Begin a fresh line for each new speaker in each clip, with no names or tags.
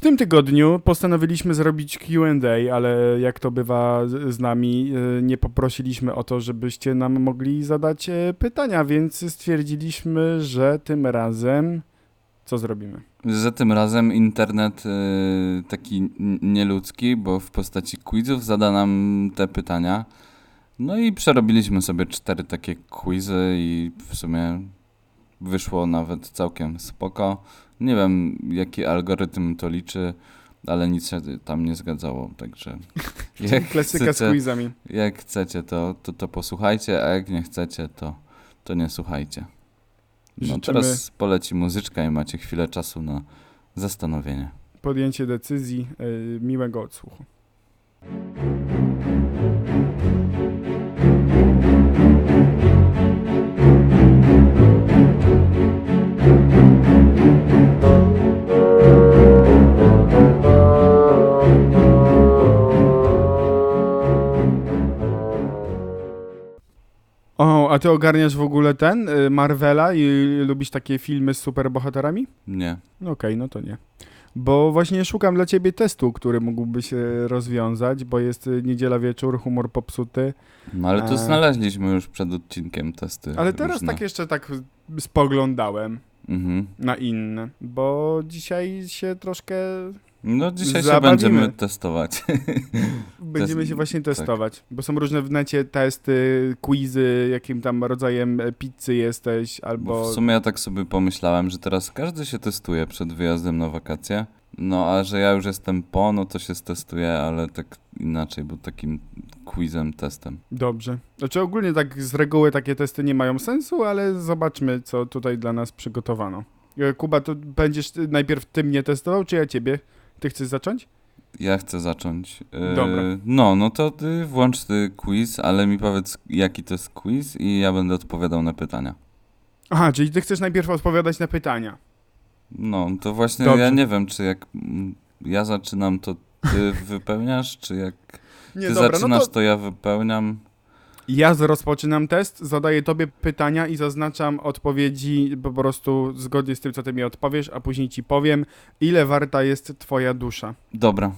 tym tygodniu postanowiliśmy zrobić QA, ale jak to bywa z z nami, e, nie poprosiliśmy o to, żebyście nam mogli zadać e, pytania, więc stwierdziliśmy, że tym razem co zrobimy?
Że tym razem internet y, taki n- nieludzki, bo w postaci quizów zada nam te pytania. No i przerobiliśmy sobie cztery takie quizy i w sumie wyszło nawet całkiem spoko. Nie wiem, jaki algorytm to liczy, ale nic się tam nie zgadzało, także jak
Klasyka z
chcecie,
quizami.
jak chcecie to, to, to posłuchajcie, a jak nie chcecie, to, to nie słuchajcie. No
Życzymy-
teraz poleci muzyczka i macie chwilę czasu na zastanowienie.
Podjęcie decyzji, e, miłego odsłuchu. O, a ty ogarniasz w ogóle ten y, Marvela i lubisz takie filmy z superbohaterami?
Nie.
Okej, no to nie. Bo właśnie szukam dla ciebie testu, który mógłby się rozwiązać, bo jest y, niedziela wieczór, humor popsuty.
No ale
A.
tu znaleźliśmy już przed odcinkiem testy.
Ale teraz
różne.
tak jeszcze tak spoglądałem
Mhm.
na inne, bo dzisiaj się troszkę
No dzisiaj
Zabawimy.
się będziemy testować.
będziemy
Test- tak.
się właśnie testować, bo są różne w necie testy, quizy, jakim tam rodzajem e, pizzy jesteś
Bo
albo
w sumie ja tak sobie pomyślałem, że teraz każdy się testuje przed wyjazdem na wakacje. No a że ja już jestem po, no to się testuję, ale tak inaczej, bo takim quizem, testem.
dobrze. Znaczy ogólnie tak z reguły takie testy nie mają sensu, ale zobaczmy co tutaj dla nas przygotowano. E, Kuba, to będziesz ty najpierw ty mnie testował, czy ja ciebie? Ty chcesz zacząć?
Ja chcę zacząć. Yy,
Dobra.
No, no to ty włącz ty quiz, ale mi powiedz jaki to jest quiz i ja będę odpowiadał na pytania.
Aha, czyli ty chcesz najpierw odpowiadać na pytania.
No, to właśnie
Dobrze.
ja nie wiem, czy jak mm, ja zaczynam, to ty wypełniasz, czy jak
Nie, no
ty zaczynasz, to... ja wypełniam.
Ja z- rozpoczynam test, zadaję tobie pytania i zaznaczam odpowiedzi po prostu zgodnie z tym, co ty mi odpowiesz, a później ci powiem, ile warta jest twoja dusza.
Dobra.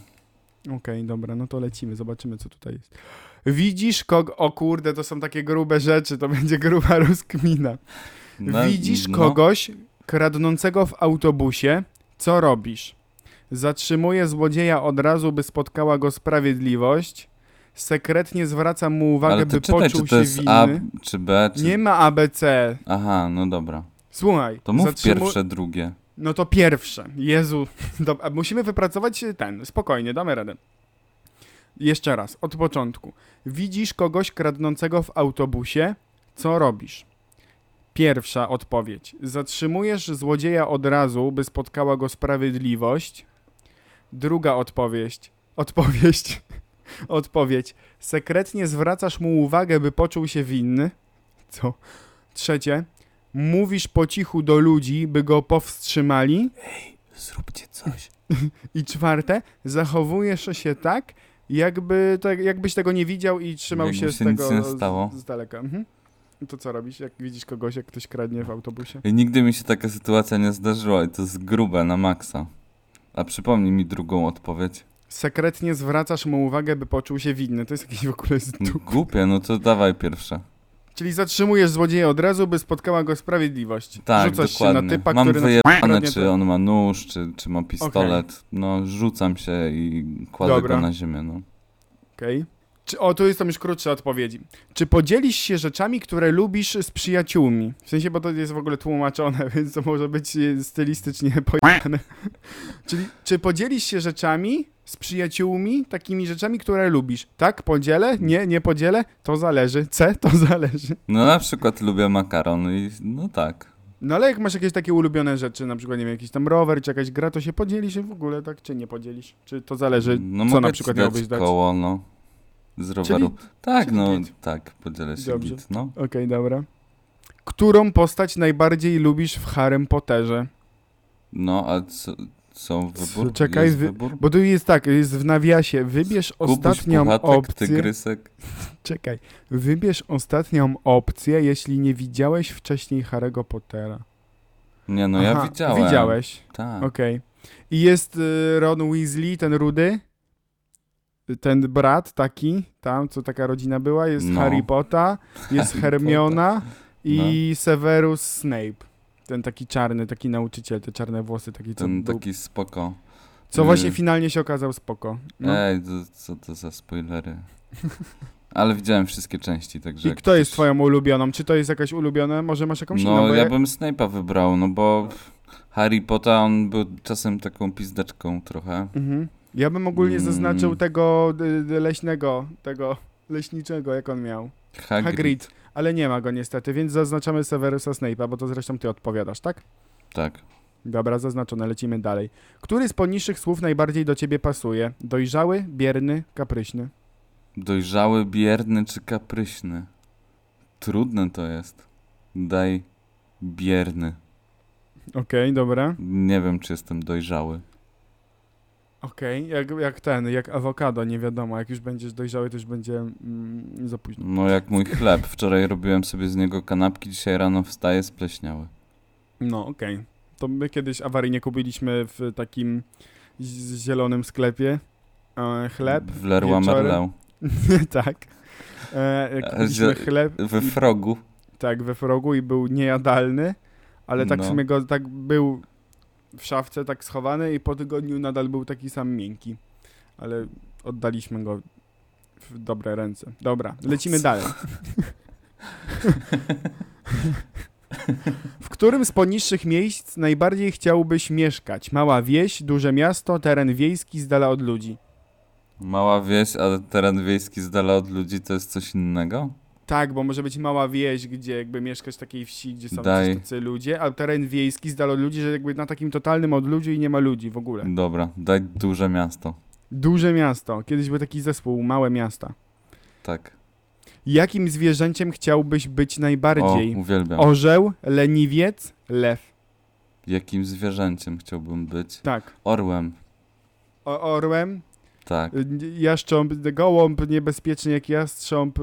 Okej, dobra, no to lecimy, zobaczymy, co tutaj jest. Widzisz kogo... O kurde, to są takie grube rzeczy, to będzie gruba rozkmina.
No,
Widzisz
no.
kogoś kradnącego w autobusie, co robisz? Zatrzymuje złodzieja od razu, by spotkała go sprawiedliwość. Sekretnie zwraca mu uwagę,
Ale
by
to czytaj,
poczuł
czy to
się
jest
winny.
A czy B, czy...
Nie ma ABC.
Aha, no dobra.
Słuchaj,
To mów
zatrzymu-
pierwsze, drugie.
No to pierwsze. Jezu, Dobra, musimy wypracować ten. Spokojnie, damy radę. Jeszcze raz, od początku. Widzisz kogoś kradnącego w autobusie, co robisz? Pierwsza odpowiedź. Zatrzymujesz złodzieja od razu, by spotkała go sprawiedliwość. Druga odpowiedź. Odpowiedź. Odpowiedź. Sekretnie zwracasz mu uwagę, by poczuł się winny. Co? Trzecie. Mówisz po cichu do ludzi, by go powstrzymali.
Zróbcie coś.
I czwarte, zachowujesz się tak, jakby tak, jakbyś tego nie widział i trzymał
Jakby
się z
się nic
tego
nie stało.
Z, z daleka. Mhm. To co robisz, jak widzisz kogoś, jak ktoś kradnie w autobusie?
I nigdy mi się taka sytuacja nie zdarzyła i to jest grube na maksa. A przypomnij mi drugą odpowiedź.
Sekretnie zwracasz mu uwagę, by poczuł się winny. To jest jakiś w ogóle zduk.
Głupie, no to dawaj pierwsze.
Czyli zatrzymujesz złodzieja od razu, by spotkała go sprawiedliwość.
Tak,
Rzucasz
dokładnie.
się na typa,
Mam
który... na przykład
wyjebane,
kradnie
czy
te-
on ma nóż, czy, czy ma pistolet. No, rzucam się i kładę
Dobra.
go na ziemię, no.
Okej. Czy, o, tu jest tam już krótsze odpowiedzi. Czy podzielisz się rzeczami, które lubisz z przyjaciółmi? W sensie, bo to jest w ogóle tłumaczone, więc to może być e, stylistycznie pojechane. Czyli, czy podzielisz się rzeczami z przyjaciółmi, takimi rzeczami, które lubisz? Tak, podzielę? Nie, nie podzielę? To zależy. C, to zależy.
No na przykład lubię makaron i no tak.
No ale jak masz jakieś takie ulubione rzeczy, na przykład, nie wiem, jakiś tam rower, czy jakaś gra, to się podzielisz w ogóle, tak? Czy nie podzielisz? Czy to zależy,
No
co
mogę
na
ci
przykład
dać
miałbyś dać? Okej,
koło, no. Z roweru. tak,
czyli
no,
git.
tak, podzielę się
Dobrze.
git, no.
dobra. Którą postać najbardziej lubisz w Harrym Potterze?
No, a co, co wybór?
Czekaj,
Jest
wy-
wybór?
Bo tu jest tak, jest w nawiasie. Wybierz
Kubuś,
ostatnią
puchatek,
opcję.
tygrysek.
Czekaj. Wybierz ostatnią opcję, jeśli nie widziałeś wcześniej Harry'ego Pottera.
Nie, no ja
Aha,
widziałem.
Widziałeś.
Tak.
Okej. I jest y, Ron Weasley, ten rudy, ten brat taki, tam co taka rodzina była, jest
No.
Harry Potter, jest
Harry No.
Hermiona i Severus Snape. Ten taki czarny, taki nauczyciel, te czarne włosy, taki co,
Ten
był,
taki spoko.
co
y-
właśnie finalnie się okazał spoko. No.
Ej, to, co to za spoilery. Ale widziałem wszystkie części, także...
I
jak
kto jest
ktoś-
twoją ulubioną? Czy to jest jakaś ulubiona? Może masz jakąś
No,
inną? Bo
ja
ja...
bym Snape'a wybrał, no bo Harry Potter, on był czasem taką pizdaczką trochę.
Mhm. ja bym ogólnie
Mm.
zaznaczył tego y, y, leśnego, tego leśniczego, jak on miał.
Hagrid.
Hagrid, ale nie ma go niestety, więc zaznaczamy Severusa Snape'a, bo to zresztą ty odpowiadasz, tak?
Tak.
Dobra, zaznaczone, lecimy dalej. Który z poniższych słów najbardziej do ciebie pasuje? Dojrzały, bierny, kapryśny.
Dojrzały, bierny czy kapryśny? Trudne to jest. Daj bierny.
Okej, dobra.
Nie wiem, czy jestem dojrzały.
Okej, jak, jak ten, jak awokado, nie wiadomo, jak już będziesz dojrzały, to już będzie mm, za późno.
No jak mój chleb. Wczoraj robiłem sobie z niego kanapki, dzisiaj rano wstaję spleśniały.
No, okej. To my kiedyś awaryjnie kupiliśmy w takim z- zielonym sklepie e, chleb.
W Leroy
wieczorem.
Merlin.
tak. E, kupiliśmy
że-
chleb.
We Frogu.
tak, we frogu i był niejadalny, ale tak w
No.
sumie go tak był w szafce tak schowany i po tygodniu nadal był taki sam miękki. Ale oddaliśmy go w dobre ręce. Dobra, lecimy
co?
dalej. w którym z poniższych miejsc najbardziej chciałbyś mieszkać? Mała wieś, duże miasto, teren wiejski z dala od ludzi.
Mała wieś, a teren wiejski z dala od ludzi to jest coś innego?
Tak, bo może być mała wieś, gdzie jakby mieszkasz w takiej wsi, gdzie są
Daj.
też tacy ludzie, a teren wiejski z dala od ludzi, że jakby na takim totalnym odludziu i nie ma ludzi w ogóle.
Dobra, daj duże miasto.
Duże miasto. Kiedyś był taki zespół, małe miasta.
Tak.
Jakim zwierzęciem chciałbyś być najbardziej?
O, uwielbiam.
Orzeł, leniwiec, lew.
Jakim zwierzęciem chciałbym być?
Tak.
Orłem.
O, orłem,
Tak.
y, jaszcząb, gołąb niebezpieczny jak jastrząb, y,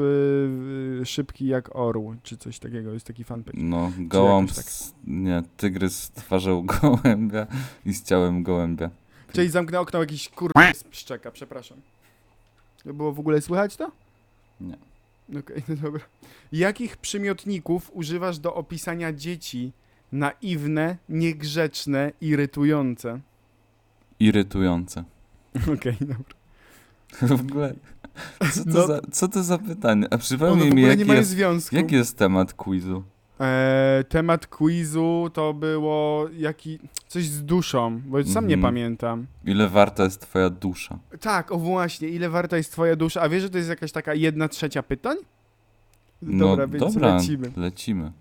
y, szybki jak orł, czy coś takiego. Jest taki fanpage.
No, gołąb.
jakoś tak.
z- Nie, tygrys z twarzą gołębia i z ciałem gołębia.
Czyli zamknę okno jakiś kur... szczeka, przepraszam. To było w ogóle słychać to?
Nie.
Okej, no dobra. Jakich przymiotników używasz do opisania dzieci naiwne, niegrzeczne, irytujące?
Irytujące.
Okej, dobra.
W ogóle. Co to,
No.
za, co to za pytanie? A
One w
przypomnij mi,
ogóle nie
jaki
mają
jest,
związku.
jaki jest temat quizu?
E, temat quizu to było jaki... coś z duszą, bo sam nie
Mhm.
pamiętam.
Ile warta jest twoja dusza?
Tak, o właśnie, ile warta jest twoja dusza? A wiesz, że to jest jakaś taka jedna trzecia pytań?
No,
Dobra, więc
dobra.
lecimy.
Lecimy.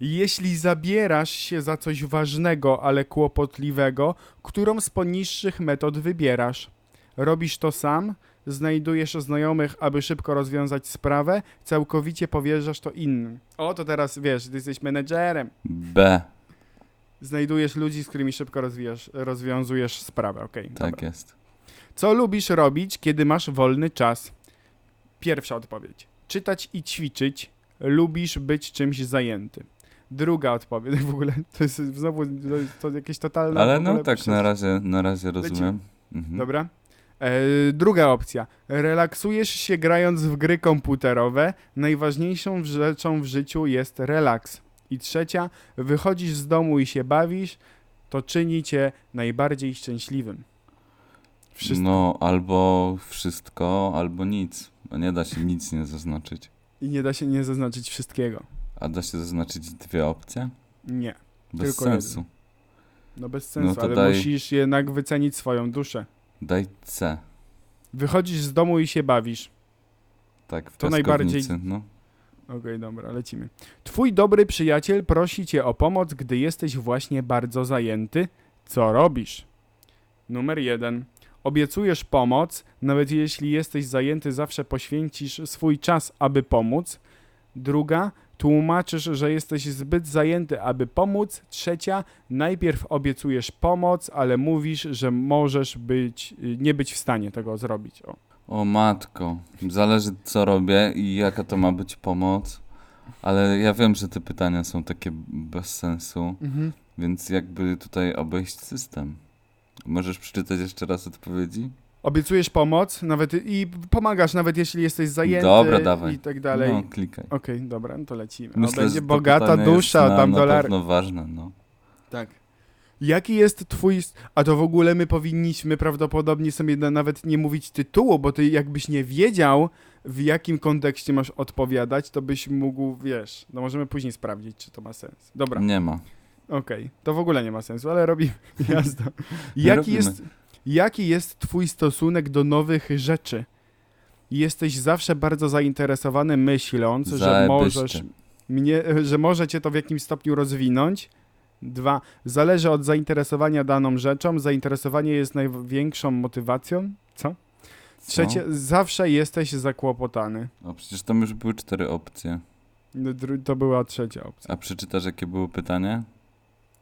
Jeśli zabierasz się za coś ważnego, ale kłopotliwego, którą z poniższych metod wybierasz? Robisz to sam, znajdujesz znajomych, aby szybko rozwiązać sprawę, całkowicie powierzasz to innym. O, to teraz wiesz, ty jesteś menedżerem.
B.
Znajdujesz ludzi, z którymi szybko rozwijasz, rozwiązujesz sprawę, okej.
Tak
dobra.
jest.
Co lubisz robić, kiedy masz wolny czas? Pierwsza odpowiedź. Czytać i ćwiczyć. Lubisz być czymś zajęty. Druga odpowiedź. W ogóle to jest znowu to, jest- to jakieś totalne... w
Ale
ogóle
no tak,
przez-
na razie, na razie rozumiem. Mhm.
Dobra. E, druga opcja. Relaksujesz się grając w gry komputerowe. Najważniejszą w- rzeczą w życiu jest relaks. I trzecia. Wychodzisz z domu i się bawisz. To czyni cię najbardziej szczęśliwym. Wszystko.
No, albo wszystko, albo nic. No, nie da się nic nie zaznaczyć.
I nie da się nie zaznaczyć wszystkiego.
A da się zaznaczyć dwie opcje?
Nie.
Bez
Tylko
sensu.
No bez sensu,
to
ale
daj-
musisz jednak wycenić swoją duszę.
Daj C.
Wychodzisz z domu i się bawisz.
Tak, w
To najbardziej-
piaskownicy, No.
Okej, dobra, lecimy. Twój dobry przyjaciel prosi cię o pomoc, gdy jesteś właśnie bardzo zajęty. Co robisz? Numer jeden. Obiecujesz pomoc, nawet jeśli jesteś zajęty, zawsze poświęcisz swój czas, aby pomóc. Druga. Tłumaczysz, że jesteś zbyt zajęty, aby pomóc. Trzecia. Najpierw obiecujesz pomoc, ale mówisz, że możesz być, y, nie być w stanie tego zrobić. O.
O matko, zależy co robię i jaka to ma być pomoc. Ale ja wiem, że te pytania są takie bez sensu,
Mhm.
więc jakby tutaj obejść system. Możesz przeczytać jeszcze raz odpowiedzi?
Obiecujesz pomoc nawet i pomagasz, nawet jeśli jesteś zajęty
Dobra, dawaj.
i tak dalej.
No, klikaj.
Okej, dobra, no to lecimy.
Myślę,
o,
że
będzie
to
bogata
pytanie jest
dusza,
na,
tam
na
dolar.
pewno ważne, no.
Tak. Jaki jest twój... A to w ogóle my powinniśmy prawdopodobnie sobie na- nawet nie mówić tytułu, bo ty jakbyś nie wiedział, w jakim kontekście masz odpowiadać, to byś mógł, wiesz... No możemy później sprawdzić, czy to ma sens. Dobra,
Nie ma.
okej. To w ogóle nie ma sensu, ale robimy. Jazda.
Nie
Jaki
robimy.
jest, jaki jest twój stosunek do nowych rzeczy? Jesteś zawsze bardzo zainteresowany, myśląc, że
Zajebiście.
możesz mnie, że może cię to w jakimś stopniu rozwinąć. Dwa, zależy od zainteresowania daną rzeczą. Zainteresowanie jest największą motywacją. Co?
Co?
Trzecie, zawsze jesteś zakłopotany.
O, No, przecież tam już były cztery opcje.
No, dru- To była trzecia opcja.
A przeczytasz, jakie było pytanie?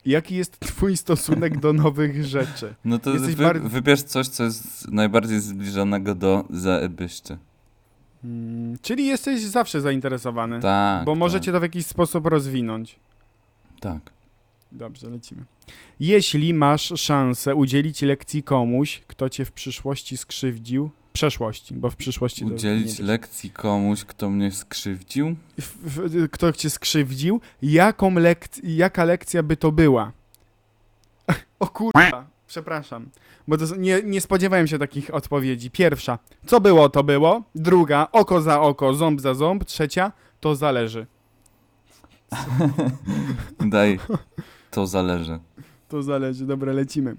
Jaki jest twój stosunek do nowych rzeczy?
No to
Jesteś
wy,
bar-
wybierz coś, co jest najbardziej zbliżonego do zaebyście.
Mm, czyli jesteś zawsze zainteresowany,
Tak.
bo
tak,
możecie to w jakiś sposób rozwinąć.
Tak.
Dobrze, lecimy. Jeśli masz szansę udzielić lekcji komuś, kto cię w przyszłości skrzywdził, przeszłości, bo w przyszłości to nie
Udzielić
wiesz.
lekcji komuś, kto mnie skrzywdził?
W- w- kto cię skrzywdził, jaką lek- jaka lekcja by to była? o kurwa, przepraszam, bo to, z- nie, nie spodziewałem się takich odpowiedzi. Pierwsza, co było, to było. Druga, oko za oko, ząb za ząb. Trzecia, to zależy.
Daj, to zależy.
To zależy, dobra, lecimy.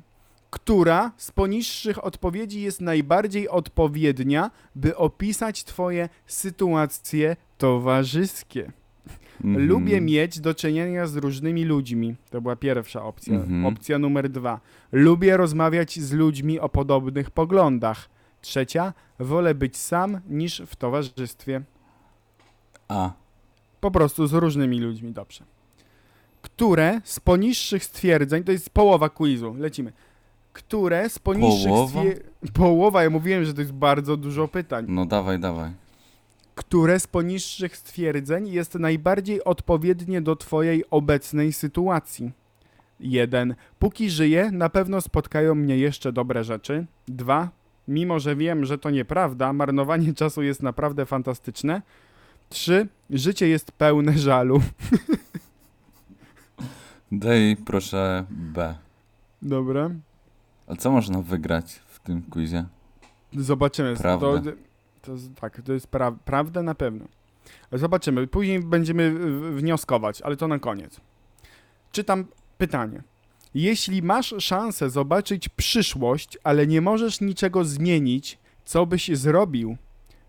Która z poniższych odpowiedzi jest najbardziej odpowiednia, by opisać Twoje sytuacje towarzyskie?
Mhm.
Lubię mieć do czynienia z różnymi ludźmi. To była pierwsza opcja.
Mhm.
Opcja numer dwa. Lubię rozmawiać z ludźmi o podobnych poglądach. Trzecia. Wolę być sam niż w towarzystwie.
A,
Po prostu z różnymi ludźmi, dobrze. Które z poniższych stwierdzeń, to jest połowa quizu, lecimy. Które z poniższych
Połowa?
stwierdzeń. Połowa, ja mówiłem, że to jest bardzo dużo pytań.
no dawaj, dawaj.
Które z poniższych stwierdzeń jest najbardziej odpowiednie do Twojej obecnej sytuacji? 1. Póki żyję, na pewno spotkają mnie jeszcze dobre rzeczy. 2. Mimo, że wiem, że to nieprawda, marnowanie czasu jest naprawdę fantastyczne. 3. Życie jest pełne żalu.
Daj, proszę, B.
Dobra.
A co można wygrać w tym quizie?
Zobaczymy.
Prawda.
To, to, z- tak, to jest pra, prawda na pewno. Zobaczymy. Później będziemy y, w- wnioskować, ale to na koniec. Czytam pytanie. Jeśli masz szansę zobaczyć przyszłość, ale nie możesz niczego zmienić, co byś zrobił?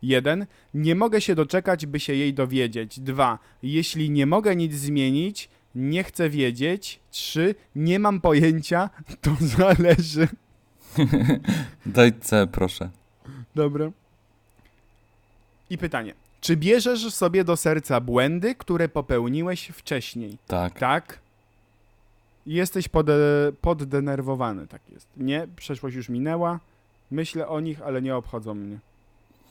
1. Nie mogę się doczekać, by się jej dowiedzieć. 2. Jeśli nie mogę nic zmienić, nie chcę wiedzieć. 3. Nie mam pojęcia, to zależy.
Daj C, proszę.
Dobra. I pytanie. Czy bierzesz sobie do serca błędy, które popełniłeś wcześniej?
Tak.
Tak. Jesteś pode, poddenerwowany, tak jest. Nie, przeszłość już minęła. Myślę o nich, ale nie obchodzą mnie.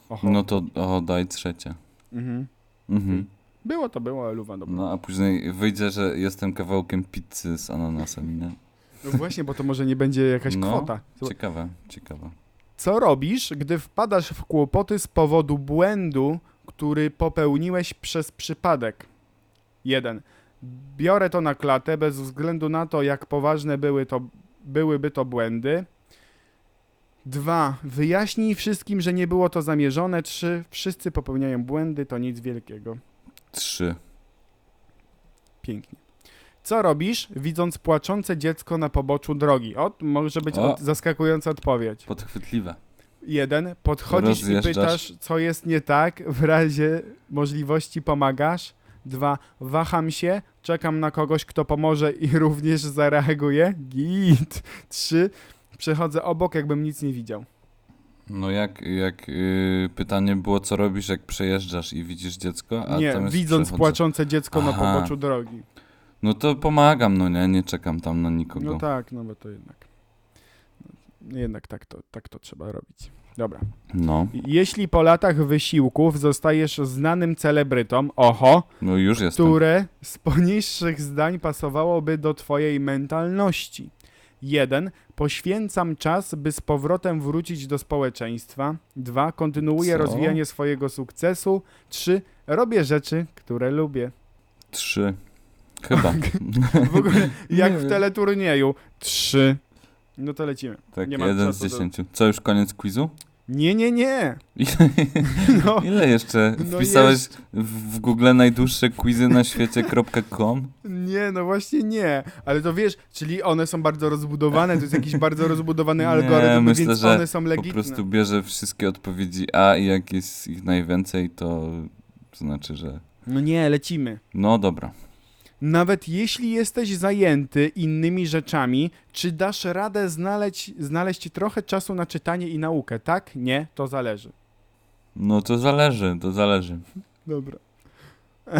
Oho.
No to, o, daj trzecie.
Mhm.
Mhm.
Było to było, ale luwa, dobra. No.
No a później wyjdzie, że jestem kawałkiem pizzy z ananasem, nie?
No właśnie, bo to może nie będzie jakaś
No,
kwota. Zobacz.
Ciekawe, ciekawe.
Co robisz, gdy wpadasz w kłopoty z powodu błędu, który popełniłeś przez przypadek? 1. Biorę to na klatę bez względu na to, jak poważne były to, byłyby to błędy. 2. Wyjaśnij wszystkim, że nie było to zamierzone. 3. Wszyscy popełniają błędy, to nic wielkiego.
Trzy.
Pięknie. Co robisz, widząc płaczące dziecko na poboczu drogi? O, może być
O.
od, zaskakująca odpowiedź.
Podchwytliwe.
Jeden, podchodzisz i
Rozjeżdżasz.
pytasz, co jest nie tak, w razie możliwości pomagasz. Dwa, waham się, czekam na kogoś, kto pomoże i również zareaguje. Git. Trzy, przechodzę obok, jakbym nic nie widział.
No jak, jak yy, pytanie było, co robisz, jak przejeżdżasz i widzisz dziecko? A
nie,
tam jest
widząc
przechodzę-
płaczące dziecko na
Aha.
poboczu drogi.
No to pomagam, no nie, nie czekam tam na nikogo.
No tak, no bo to jednak. Jednak tak to, tak to trzeba robić. Dobra.
No,
Jeśli po latach wysiłków zostajesz znanym celebrytą, oho,
no już jestem.
które z poniższych zdań pasowałoby do twojej mentalności. 1. Poświęcam czas, by z powrotem wrócić do społeczeństwa. 2. Kontynuuję
Co?
rozwijanie swojego sukcesu. 3. Robię rzeczy, które lubię.
Trzy. Chyba.
W ogóle jak
Nie
w
wiem.
teleturnieju. 3. No to lecimy.
Tak,
Nie ma
jeden
czasu
z
do-
dziesięciu. Co, już koniec quizu?
Nie, nie, nie. No,
Ile jeszcze?
No
Wpisałeś w w Google najdłuższe quizy na świecie.com?
nie, no właśnie nie. Ale to wiesz, czyli one są bardzo rozbudowane, to jest jakiś bardzo rozbudowany
Nie,
algorytm,
myślę,
więc
że
one są
Po
legitne.
prostu bierze wszystkie odpowiedzi A i jak jest ich najwięcej, to znaczy, że...
No nie, lecimy.
No dobra.
Nawet jeśli jesteś zajęty innymi rzeczami, czy dasz radę znaleźć, znaleźć trochę czasu na czytanie i naukę? Tak? Nie? To zależy.
No to zależy, to zależy.
Dobra.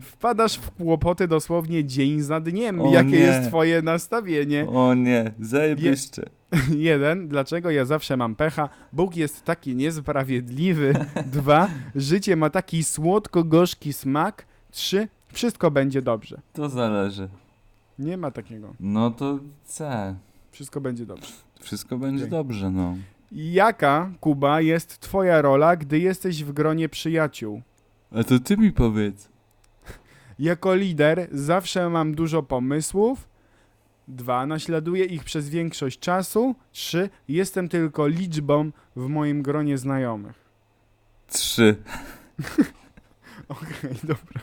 Wpadasz w kłopoty dosłownie dzień za dniem.
O
Jakie
nie.
jest twoje nastawienie?
O nie, zajebiście.
Jeden, Dlaczego ja zawsze mam pecha? Bóg jest taki niesprawiedliwy. Dwa, Życie ma taki słodko-gorzki smak. Trzy, Wszystko będzie dobrze.
To zależy.
Nie ma takiego.
No to C.
Wszystko będzie dobrze.
Wszystko będzie
Okej.
dobrze, no.
Jaka, Kuba, jest twoja rola, gdy jesteś w gronie przyjaciół?
A to ty mi powiedz.
Jako lider zawsze mam dużo pomysłów. Dwa, naśladuję ich przez większość czasu. Trzy, jestem tylko liczbą w moim gronie znajomych.
Trzy.
Okej, dobra.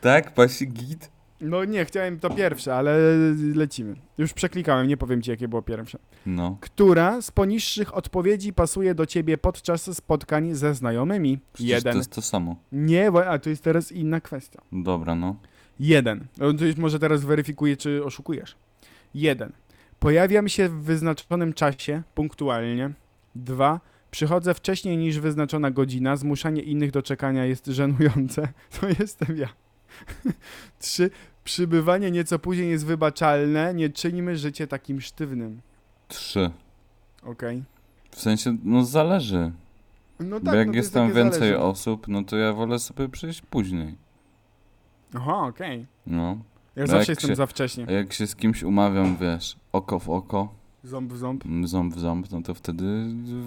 Tak, pasi git?
No nie, chciałem to pierwsze, ale lecimy. Już przeklikałem, nie powiem ci, jakie było pierwsze.
No.
Która z poniższych odpowiedzi pasuje do ciebie podczas spotkań ze znajomymi?
Przecież
Jeden.
to jest to samo.
Nie, bo- a to jest teraz inna kwestia.
Dobra, no.
Jeden. No to już może teraz weryfikuję, czy oszukujesz. Jeden. Pojawiam się w wyznaczonym czasie, punktualnie. Dwa. Przychodzę wcześniej niż wyznaczona godzina. Zmuszanie innych do czekania jest żenujące. To jestem ja. Trzy. Przybywanie nieco później jest wybaczalne. Nie czyńmy życie takim sztywnym.
Trzy.
Okej.
W sensie, no zależy.
No tak,
Bo jak
no to
jest
jest
tam
takie
więcej
zależy.
osób, no to ja wolę sobie przyjść później.
Aha, okej.
No.
Ja
No jak
zawsze jestem
się-
za wcześnie.
A jak się z kimś umawiam, wiesz, oko w oko,
Ząb w ząb.
m, ząb w ząb, no to wtedy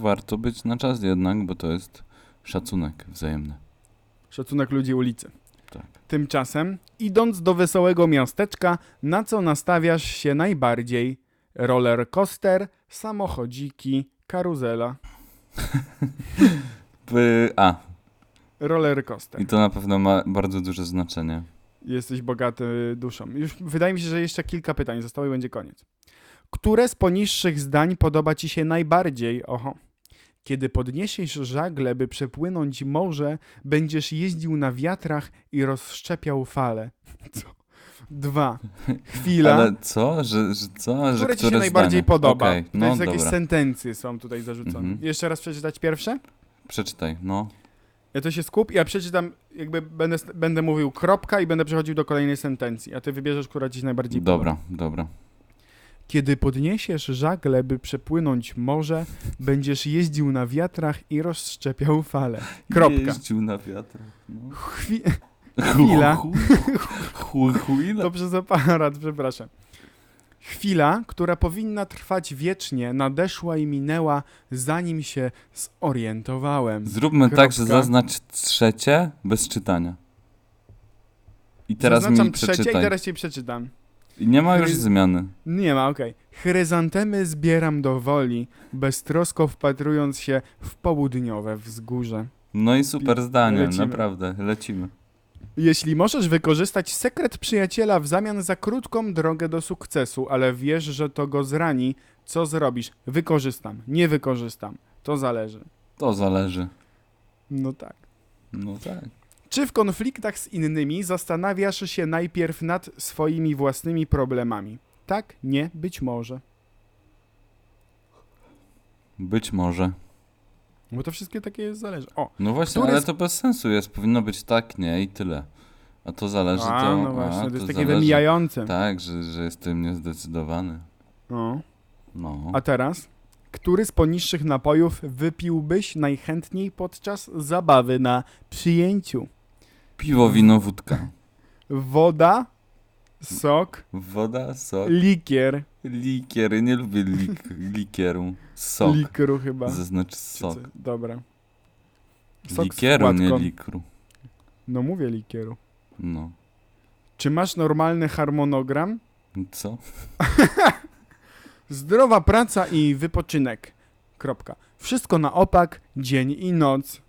warto być na czas jednak, bo to jest szacunek wzajemny.
Szacunek ludzi ulicy.
Tak.
Tymczasem, idąc do wesołego miasteczka, na co nastawiasz się najbardziej? Roller coaster, samochodziki, karuzela.
By- A,
Roller coaster.
i to na pewno ma bardzo duże znaczenie.
Jesteś bogaty duszą. Już wydaje mi się, że jeszcze kilka pytań zostało i będzie koniec. Które z poniższych zdań podoba ci się najbardziej? Oho. Kiedy podniesiesz żagle, by przepłynąć morze, będziesz jeździł na wiatrach i rozszczepiał fale. Co? Dwa. Chwila.
Ale co? Że, że co? Że
które
które
ci się najbardziej
zdanie?
podoba.
Okej,
to
No
jest jakieś
dobra,
sentencje są tutaj zarzucone.
Mhm.
Jeszcze raz przeczytać pierwsze?
przeczytaj, no.
Ja to się skup, ja przeczytam, jakby będę, będę mówił kropka i będę przechodził do kolejnej sentencji, a ty wybierzesz, która ci się najbardziej podoba.
Dobra, dobra.
Kiedy podniesiesz żagle, by przepłynąć morze, będziesz jeździł na wiatrach i rozszczepiał fale. Kropka.
Jeździł na wiatr. No.
Chwi... Chwila.
Chu- chu- Chwila.
To przez aparat, przepraszam. Chwila, która powinna trwać wiecznie, nadeszła i minęła, zanim się zorientowałem.
Zróbmy tak, że
Kropka.
zaznacz trzecie bez czytania. I teraz
Zaznaczam
mi
trzecie
przeczytaj.
i teraz ci przeczytam.
I Nie ma już
Chry-
zmiany.
Nie ma, okej. Chryzantemy zbieram do woli, beztrosko wpatrując się w południowe wzgórze.
No i super zdanie,
Lecimy.
naprawdę, lecimy.
Jeśli możesz wykorzystać sekret przyjaciela w zamian za krótką drogę do sukcesu, ale wiesz, że to go zrani, co zrobisz? Wykorzystam, nie wykorzystam. To zależy.
To zależy.
No tak.
No tak.
Czy w konfliktach z innymi zastanawiasz się najpierw nad swoimi własnymi problemami? Tak, nie, być może.
Być może.
Bo to wszystkie takie zależy. O,
No właśnie,
Który
ale
z-
to bez sensu jest. Powinno być tak, nie i tyle. A to zależy,
a,
to...
no właśnie,
a,
to jest
to
takie
zależy.
wymijające.
Tak, że, że jestem niezdecydowany.
No.
No.
A teraz? Który z poniższych napojów wypiłbyś najchętniej podczas zabawy na przyjęciu?
Piwo, wino, wódka.
Woda, sok,
Woda, sok,
likier,
Likiery, nie lubię lik, likieru. Sok.
Likru chyba.
Zaznacz
czy
sok.
co- Dobra. Sok z
Likieru, nie
wkładką.
likru.
No mówię likieru.
No.
Czy masz normalny harmonogram?
Co?
Zdrowa praca i wypoczynek. Kropka. Wszystko na opak, dzień i noc.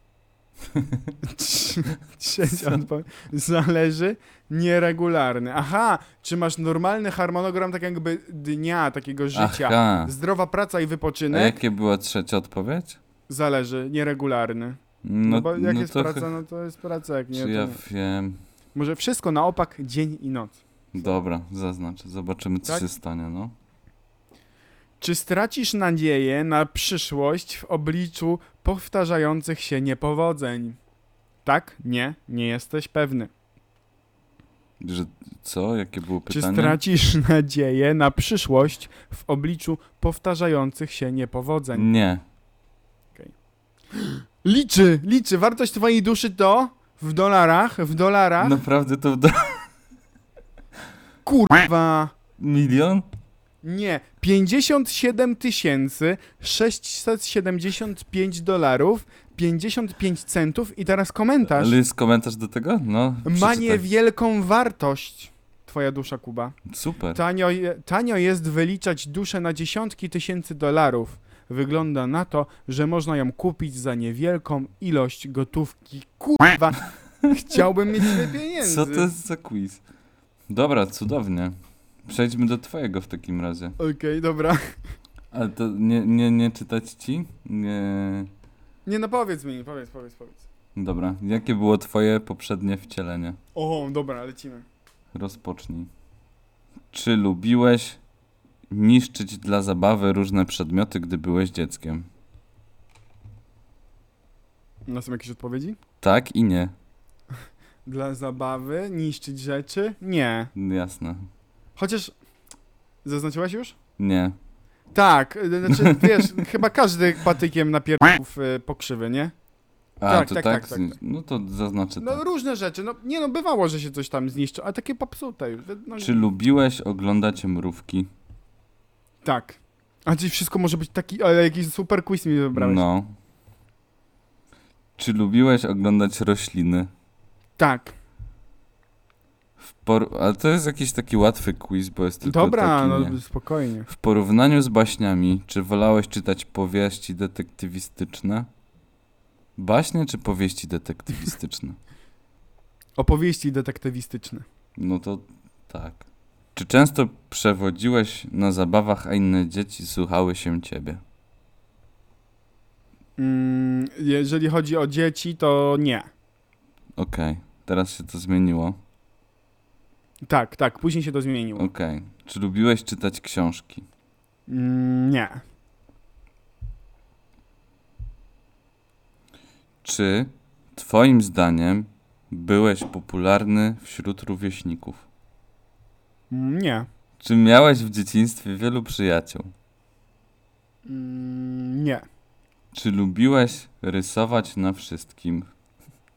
Trzecia odpowiedź. Zależy nieregularny. Aha, czy masz normalny harmonogram tak jakby dnia takiego życia?
Aha.
Zdrowa praca i
A
wypoczynek
jakie była trzecia odpowiedź?
zależy nieregularny.
No,
No, bo jak
no
jest
to
praca, no to jest praca, jak
Czy
nie. To...
ja
nie.
wiem.
Może wszystko na opak, dzień i noc.
Dobra, zaznaczę. Zobaczymy, co
Tak?
się stanie, no.
Czy stracisz nadzieję na przyszłość w obliczu powtarzających się niepowodzeń? Tak? Nie? Nie jesteś pewny.
Że co? Jakie było
Czy
pytanie?
stracisz nadzieję na przyszłość w obliczu powtarzających się niepowodzeń?
Nie.
Liczy, liczy. Wartość twojej duszy to w dolarach, w dolarach.
Naprawdę to w do...
Kurwa.
milion?
Nie, 57 tysięcy 675 dolarów 55 centów i teraz komentarz.
Ale jest komentarz do tego? No.
Ma
przeczytaj.
niewielką wartość. Twoja dusza, Kuba.
Super.
Tanio, je- tanio jest wyliczać duszę na dziesiątki tysięcy dolarów. Wygląda na to, że można ją kupić za niewielką ilość gotówki. Kurwa, chciałbym mieć tyle pieniędzy.
Co to jest za quiz? Dobra, cudownie. Przejdźmy do twojego w takim razie.
Okej, dobra.
Ale to nie, nie, nie czytać ci? Nie.
Nie no, powiedz mi, powiedz, powiedz, powiedz.
Dobra. Jakie było twoje poprzednie wcielenie?
O, dobra, lecimy.
Rozpocznij. Czy lubiłeś niszczyć dla zabawy różne przedmioty, gdy byłeś dzieckiem?
No są jakieś odpowiedzi?
Tak i nie.
Dla zabawy, niszczyć rzeczy? Nie.
Jasne.
Chociaż, zaznaczyłaś już?
Nie.
Tak, y, znaczy wiesz, chyba każdy patykiem napierdał w y, pokrzywy, nie?
A,
Tak,
to
tak,
tak?
tak, tak, tak.
No to zaznaczę tak.
No różne rzeczy, no nie no, bywało, że się coś tam zniszczy, a takie popsute już. No,
Czy lubiłeś oglądać mrówki?
Tak. A czyli wszystko może być taki, ale jakiś super quiz mi wybrałeś.
No. Czy lubiłeś oglądać rośliny?
Tak.
W por... Ale to jest jakiś taki łatwy quiz, bo jest tylko
Dobra,
taki,
no
nie.
spokojnie.
W porównaniu z baśniami, czy wolałeś czytać powieści detektywistyczne? Baśnie czy powieści detektywistyczne?
Opowieści detektywistyczne.
No to tak. Czy często przewodziłeś na zabawach, a inne dzieci słuchały się ciebie?
Mm, jeżeli chodzi o dzieci, to nie.
Okej, teraz się to zmieniło.
Tak, tak, później się to zmieniło.
Okej. Czy lubiłeś czytać książki?
Mm, nie.
Czy twoim zdaniem byłeś popularny wśród rówieśników?
Mm, nie.
Czy miałeś w dzieciństwie wielu przyjaciół?
Mm, nie.
Czy lubiłeś rysować na wszystkim?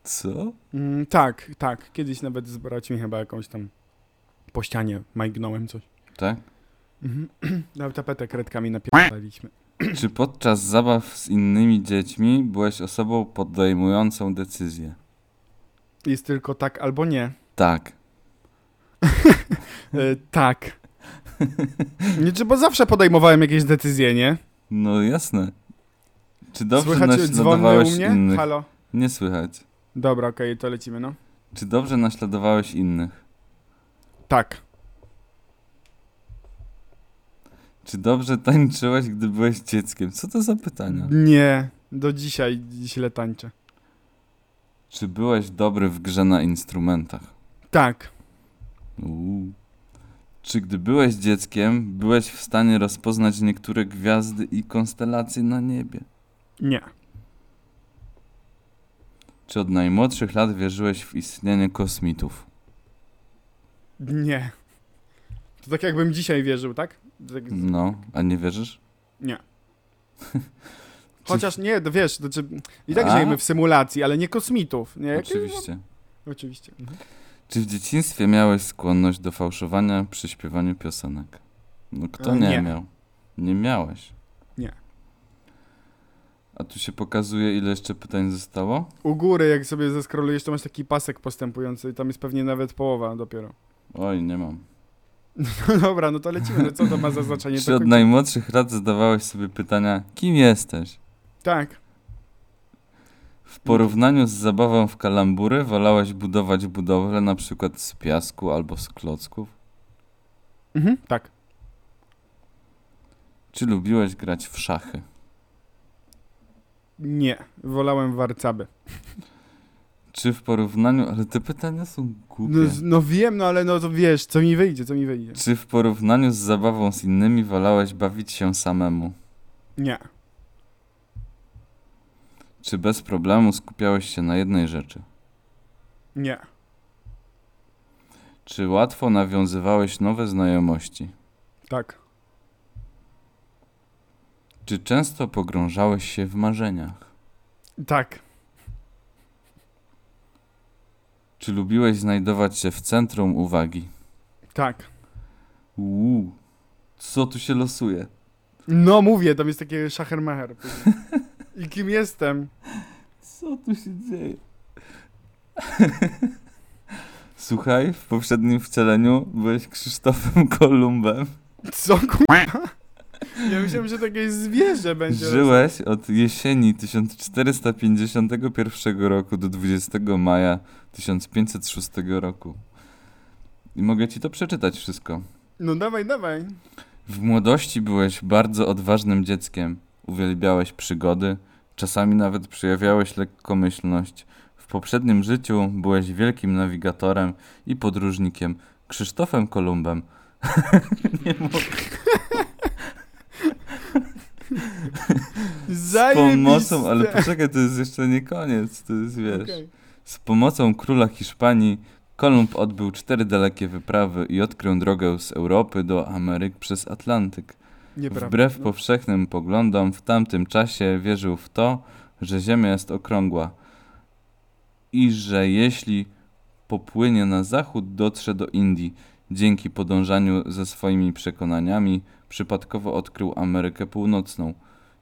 Co?
Mm, tak, tak. Kiedyś nawet z braćmi chyba jakąś tam po ścianie majgnąłem coś.
Tak?
Mhm. Na tapetę kredkami napierdaliśmy.
Czy podczas zabaw z innymi dziećmi byłeś osobą podejmującą decyzję?
Jest tylko tak albo nie.
Tak.
E, tak. Nie, czy, bo zawsze podejmowałem jakieś decyzje, nie?
No jasne. Czy dobrze
Słychać dzwony u
naśladowałeś
mnie?
innych?
Halo?
Nie słychać.
Dobra, okej, to lecimy, no.
Czy dobrze naśladowałeś innych?
Tak.
Czy dobrze tańczyłeś, gdy byłeś dzieckiem? Co to za pytania?
Nie, do dzisiaj źle tańczę.
Czy byłeś dobry w grze na instrumentach?
Tak.
Uuu. Czy gdy byłeś dzieckiem, byłeś w stanie rozpoznać niektóre gwiazdy i konstelacje na niebie?
Nie.
Czy od najmłodszych lat wierzyłeś w istnienie kosmitów?
Nie. To tak jakbym dzisiaj wierzył, tak? tak
No, a nie wierzysz?
Nie. Chociaż nie, no wiesz, to czy, i tak
A?
żyjemy w symulacji, ale nie kosmitów, nie?
Oczywiście.
Oczywiście. Mhm.
Czy w dzieciństwie miałeś skłonność do fałszowania przy śpiewaniu piosenek? No kto
E,
nie,
nie.
miał? Nie miałeś.
Nie.
A tu się pokazuje, ile jeszcze pytań zostało?
U góry, jak sobie zeskrolujesz, to masz taki pasek postępujący i tam jest pewnie nawet połowa dopiero.
Oj, nie mam.
No dobra, no to lecimy, no co to ma za znaczenie?
Czy
To
od
kończy...
najmłodszych lat zadawałeś sobie pytania, kim jesteś?
Tak,
W porównaniu z zabawą w kalambury wolałeś budować budowle na przykład z piasku albo z klocków?
mhm, tak,
Czy lubiłeś grać w szachy?
nie, wolałem warcaby.
Czy w porównaniu... Ale te pytania są głupie.
No, z- no wiem, no ale no to wiesz, co mi wyjdzie, co mi wyjdzie.
Czy w porównaniu z zabawą z innymi wolałeś bawić się samemu?
Nie,
Czy bez problemu skupiałeś się na jednej rzeczy?
nie,
Czy łatwo nawiązywałeś nowe znajomości?
tak,
Czy często pogrążałeś się w marzeniach?
tak,
Czy lubiłeś znajdować się w centrum uwagi?
tak.
Uuu, co tu się losuje?
No mówię, tam jest takie szachermacher. później. I kim jestem?
Co tu się dzieje? Słuchaj, w poprzednim wcieleniu byłeś Krzysztofem Kolumbem.
Co kurwa? Ja myślałem, że takie zwierzę będzie.
Żyłeś od jesieni 1451 roku do 20 maja 1506 roku. I mogę ci to przeczytać wszystko.
No dawaj, dawaj.
W młodości byłeś bardzo odważnym dzieckiem. Uwielbiałeś przygody, czasami nawet przejawiałeś lekkomyślność. W poprzednim życiu byłeś wielkim nawigatorem i podróżnikiem Krzysztofem Kolumbem. Nie mogę. Z
Zajebiste.
pomocą, ale poczekaj, to jest jeszcze nie koniec, to jest wiesz.
Okej.
Z pomocą króla Hiszpanii Kolumb odbył cztery dalekie wyprawy i odkrył drogę z Europy do Ameryk przez Atlantyk.
Nieprawda.
Wbrew
No.
powszechnym poglądom, w tamtym czasie wierzył w to, że Ziemia jest okrągła i że jeśli popłynie na zachód, dotrze do Indii. Dzięki podążaniu ze swoimi przekonaniami, przypadkowo odkrył Amerykę Północną.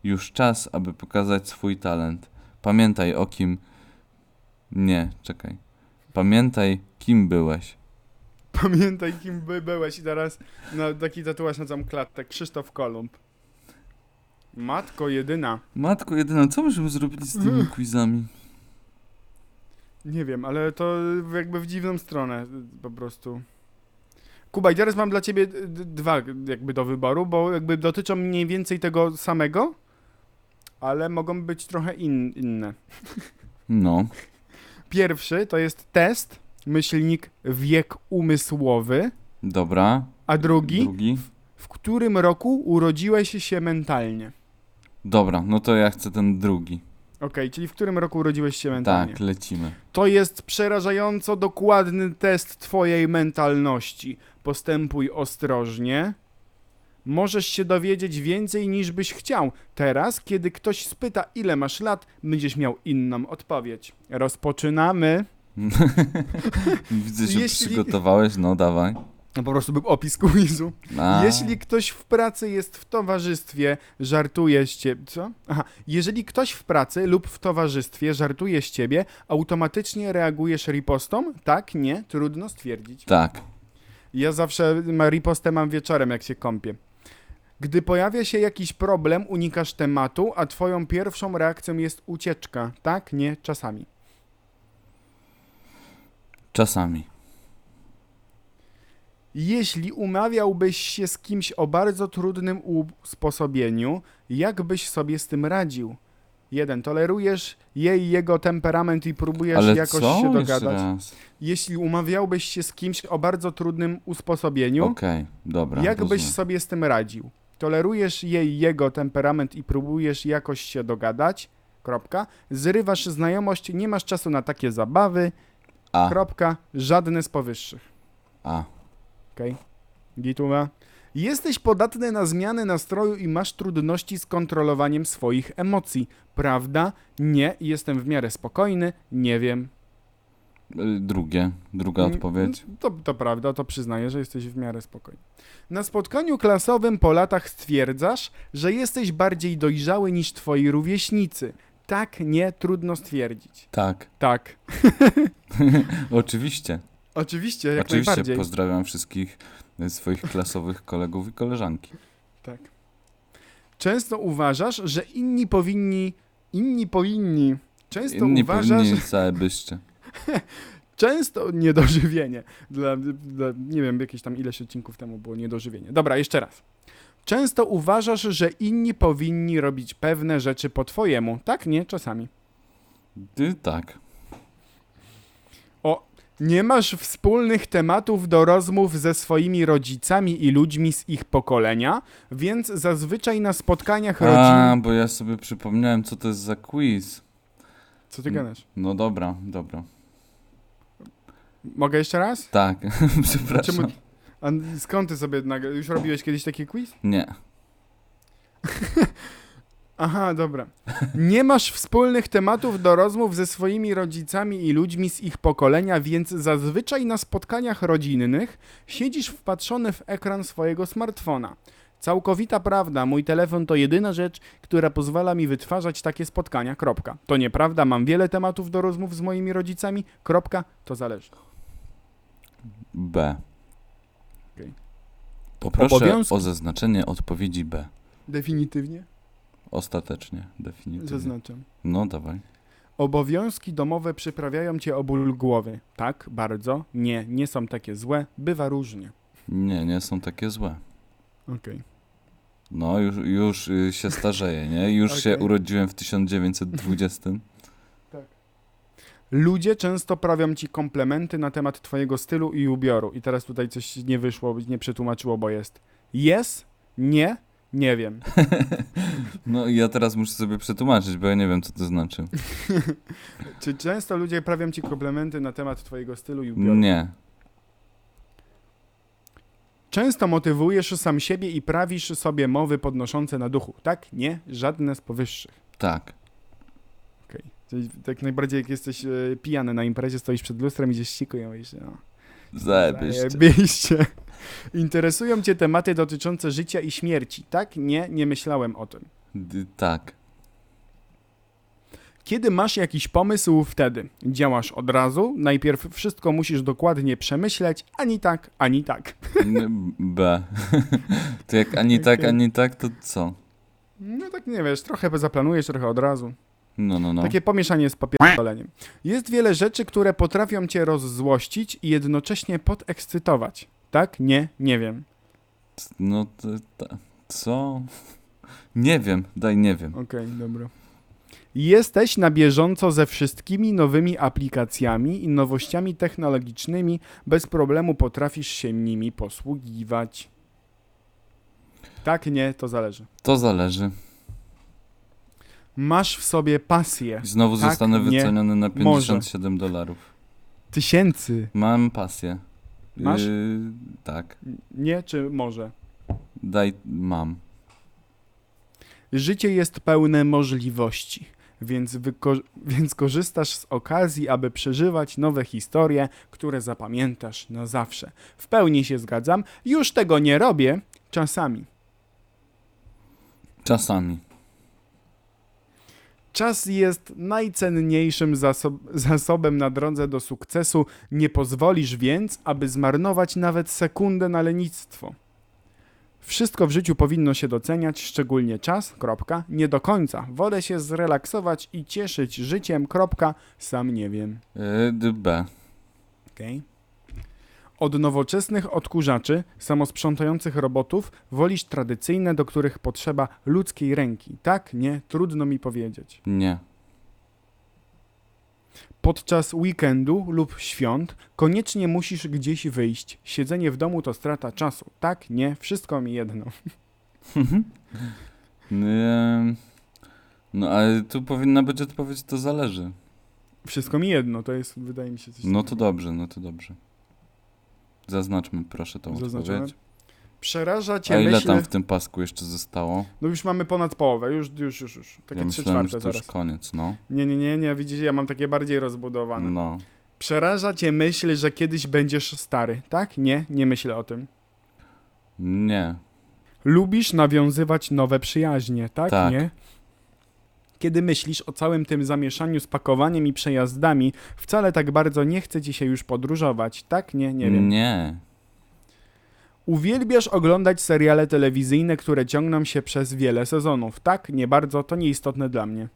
Już czas, aby pokazać swój talent. Pamiętaj o kim. Nie, czekaj. Pamiętaj, kim byłeś.
Pamiętaj, kim by byłeś i teraz na taki tatuaż na całą klatkę. Krzysztof Kolumb. Matko jedyna.
Matko jedyna, co myśmy zrobili z tymi quizami?
Nie wiem, ale to jakby w dziwną stronę y, po prostu. Kuba, i teraz mam dla ciebie d- d- dwa jakby do wyboru, bo jakby dotyczą mniej więcej tego samego, ale mogą być trochę in, inne.
No.
Pierwszy to jest test, myślnik wiek umysłowy,
Dobra.
a drugi,
Drugi.
w którym roku urodziłeś się mentalnie.
Dobra, no to ja chcę ten drugi.
Okej, czyli w którym roku urodziłeś się mentalnie.
Tak, lecimy.
To jest przerażająco dokładny test twojej mentalności. Postępuj ostrożnie. Możesz się dowiedzieć więcej niż byś chciał. Teraz, kiedy ktoś spyta, ile masz lat, będziesz miał inną odpowiedź. Rozpoczynamy.
Widzę, że
Jeśli-
przygotowałeś, no dawaj.
No po prostu był opis quizu.
A,
Jeśli ktoś w pracy jest w towarzystwie, żartuje z ciebie. Co? Aha. Jeżeli ktoś w pracy lub w towarzystwie żartuje z ciebie, automatycznie reagujesz ripostą? Tak, nie, trudno stwierdzić.
Tak.
Ja zawsze ma- ripostę mam wieczorem, jak się kąpię. Gdy pojawia się jakiś problem, unikasz tematu, a twoją pierwszą reakcją jest ucieczka. Tak, nie, czasami.
Czasami.
Jeśli umawiałbyś się z kimś o bardzo trudnym usposobieniu, jak byś sobie z tym radził? Jeden, tolerujesz jej jego temperament i próbujesz
Ale
jakoś
co?
się
Jeszcze
dogadać.
raz.
Jeśli umawiałbyś się z kimś o bardzo trudnym usposobieniu,
Okej, dobra.
Jak
rozumiem.
byś sobie z tym radził? Tolerujesz jej jego temperament i próbujesz jakoś się dogadać? Kropka. Zrywasz znajomość, nie masz czasu na takie zabawy.
A,
Kropka. Żadne z powyższych.
a.
Okej. Gituma. Jesteś podatny na zmiany nastroju i masz trudności z kontrolowaniem swoich emocji. Prawda? Nie. Jestem w miarę spokojny. Nie wiem.
Y, Drugie, druga
Mm,
odpowiedź.
To, to prawda, to przyznaję, że jesteś w miarę spokojny. Na spotkaniu klasowym po latach stwierdzasz, że jesteś bardziej dojrzały niż twoi rówieśnicy. Tak nie trudno stwierdzić.
Tak,
Tak.
oczywiście.
Oczywiście, jak
oczywiście
najbardziej.
pozdrawiam wszystkich y, swoich klasowych kolegów i koleżanki.
Tak. Często uważasz, że inni powinni. Inni powinni. Często
Inni
uważasz.
Y, powinni całe byście.
Często niedożywienie. Dla, dla, nie wiem, jakieś tam ileś odcinków temu było niedożywienie. Dobra, jeszcze raz. Często uważasz, że inni powinni robić pewne rzeczy po twojemu. Tak, nie, czasami.
Y, Tak,
Nie masz wspólnych tematów do rozmów ze swoimi rodzicami i ludźmi z ich pokolenia, więc zazwyczaj na spotkaniach
A,
rodzin...
bo ja sobie przypomniałem, co to jest za quiz.
Co ty gadasz?
No dobra, dobra.
Mogę jeszcze raz?
Tak, przepraszam.
Czemu... A skąd ty sobie... nagle- Już robiłeś kiedyś taki quiz?
Nie.
Aha, dobra. Nie masz wspólnych tematów do rozmów ze swoimi rodzicami i ludźmi z ich pokolenia, więc zazwyczaj na spotkaniach rodzinnych siedzisz wpatrzony w ekran swojego smartfona. Całkowita prawda, mój telefon to jedyna rzecz, która pozwala mi wytwarzać takie spotkania. Kropka. To nieprawda, mam wiele tematów do rozmów z moimi rodzicami. Kropka, to zależy.
B.
Okej.
Poproszę
Obowiązki?
o zaznaczenie odpowiedzi B.
Definitywnie
Ostatecznie, definitywnie.
zaznaczam.
No dawaj.
Obowiązki domowe przyprawiają cię o ból głowy. Tak, bardzo. Nie, nie są takie złe. Bywa różnie.
Nie, nie są takie złe.
Okej.
No, już, już y, się starzeję, nie? Już się
Okej.
urodziłem w 1920.
Ludzie często prawią ci komplementy na temat twojego stylu i ubioru. I teraz tutaj coś nie wyszło, nie przetłumaczyło, bo jest jest, nie, nie wiem.
No i ja teraz muszę sobie przetłumaczyć, bo ja nie wiem, co to znaczy.
Czy często ludzie prawią ci komplementy na temat twojego stylu i ubioru?
Nie.
Często motywujesz sam siebie i prawisz sobie mowy podnoszące na duchu. Tak, nie, żadne z powyższych.
Tak.
Okej. Czyli tak najbardziej jak jesteś e, pijany na imprezie, stoisz przed lustrem, idziesz siku i mówisz, no,
Zajebiście.
zajebiście. Interesują cię tematy dotyczące życia i śmierci. Tak, nie, nie myślałem o tym.
D- tak.
Kiedy masz jakiś pomysł, wtedy działasz od razu. Najpierw wszystko musisz dokładnie przemyśleć, ani tak, ani tak.
N- B. To jak ani tak,
Okej.
ani tak, to co?
No tak nie wiesz, trochę zaplanujesz, trochę od razu.
No, no, no.
Takie pomieszanie z papieroleniem. Jest wiele rzeczy, które potrafią cię rozzłościć i jednocześnie podekscytować. Tak? Nie? Nie wiem.
No, to, ta- co? Nie wiem, daj nie wiem.
Okej, dobra. Jesteś na bieżąco ze wszystkimi nowymi aplikacjami i nowościami technologicznymi. Bez problemu potrafisz się nimi posługiwać. Tak, nie, to zależy.
To zależy.
Masz w sobie pasję.
I Znowu
Tak,
zostanę
nie,
wyceniony na
może.
57 dolarów.
Tysięcy.
Mam pasję.
Masz?
Yy, tak.
Nie, czy może?
Daj, mam.
Życie jest pełne możliwości, więc, wyko- więc korzystasz z okazji, aby przeżywać nowe historie, które zapamiętasz na zawsze. W pełni się zgadzam, już tego nie robię czasami.
Czasami.
Czas jest najcenniejszym zasob- zasobem na drodze do sukcesu. Nie pozwolisz więc, aby zmarnować nawet sekundę na lenistwo. Wszystko w życiu powinno się doceniać, szczególnie czas, kropka, nie do końca. Wolę się zrelaksować i cieszyć życiem, kropka, sam nie wiem.
Yy, d- B.
Okay. Od nowoczesnych odkurzaczy, samosprzątających robotów, wolisz tradycyjne, do których potrzeba ludzkiej ręki. Tak, nie, trudno mi powiedzieć.
Nie.
Podczas weekendu lub świąt koniecznie musisz gdzieś wyjść. Siedzenie w domu to strata czasu. Tak, nie, wszystko mi jedno.
Yy, no, ale tu powinna być odpowiedź, to zależy.
Wszystko mi jedno, to jest, wydaje mi się, coś
No to
takiego.
dobrze, no to dobrze. Zaznaczmy proszę tą
Zaznaczone.
odpowiedź.
Przeraża cię
A ile
myśl...
tam w tym pasku jeszcze zostało?
No już mamy ponad połowę, już, już, już, już. Takie
Ja
trzy
myślałem, że
czwarte
to już
zaraz.
koniec, no.
Nie, nie, nie, nie, widzicie, ja mam takie bardziej rozbudowane.
No.
Przeraża cię myśl, że kiedyś będziesz stary, tak? Nie, nie myślę o tym.
Nie.
Lubisz nawiązywać nowe przyjaźnie, tak?
Tak.
Nie? Kiedy myślisz o całym tym zamieszaniu z pakowaniem i przejazdami, wcale tak bardzo nie chce ci się już podróżować, tak? Nie, nie
Mm.
wiem.
Nie.
Uwielbiasz oglądać seriale telewizyjne, które ciągną się przez wiele sezonów, tak? Nie bardzo, to nieistotne dla mnie.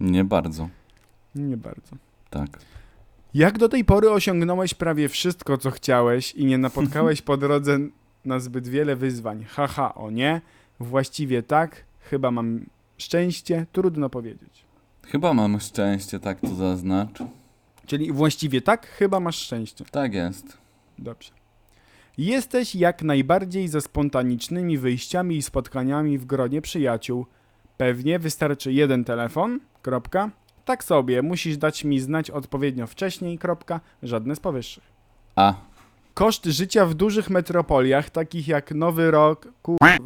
Nie bardzo.
Nie bardzo.
Tak.
Jak do tej pory osiągnąłeś prawie wszystko, co chciałeś i nie napotkałeś po drodze na zbyt wiele wyzwań? Haha, o nie? Właściwie tak? Chyba mam szczęście? Trudno powiedzieć.
Chyba mam szczęście, tak to zaznacz.
Czyli właściwie tak? Chyba masz szczęście.
Tak jest.
Dobrze. Jesteś jak najbardziej ze spontanicznymi wyjściami i spotkaniami w gronie przyjaciół. Pewnie wystarczy jeden telefon, kropka. Tak sobie, musisz dać mi znać odpowiednio wcześniej, kropka. Żadne z powyższych.
A.
Koszt życia w dużych metropoliach, takich jak Nowy Rok, kurwa,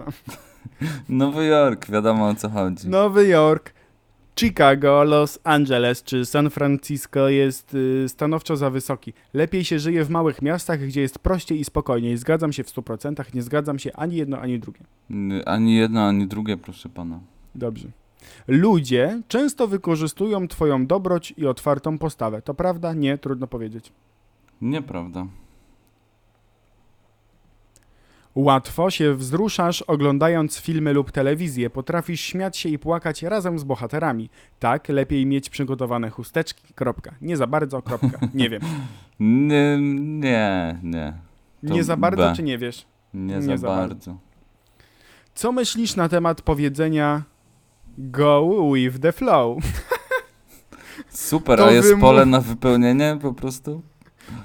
Nowy Jork, wiadomo o co chodzi.
Nowy Jork, Chicago, Los Angeles czy San Francisco jest y, stanowczo za wysoki. Lepiej się żyje w małych miastach, gdzie jest prościej i spokojniej. Zgadzam się w 100%, nie zgadzam się ani jedno, ani drugie.
N- Ani jedno, ani drugie, proszę pana.
Dobrze. Ludzie często wykorzystują twoją dobroć i otwartą postawę. To prawda? Nie, trudno powiedzieć.
Nieprawda.
Łatwo się wzruszasz oglądając filmy lub telewizję, potrafisz śmiać się i płakać razem z bohaterami. Tak, lepiej mieć przygotowane chusteczki, kropka. Nie za bardzo, kropka. Nie wiem.
Nie, nie, nie. To
Nie za bardzo
B.
czy nie wiesz?
Nie,
Nie
za,
za bardzo.
bardzo.
Co myślisz na temat powiedzenia go with the flow?
Super,
To
a jest
wymów-
pole na wypełnienie po prostu?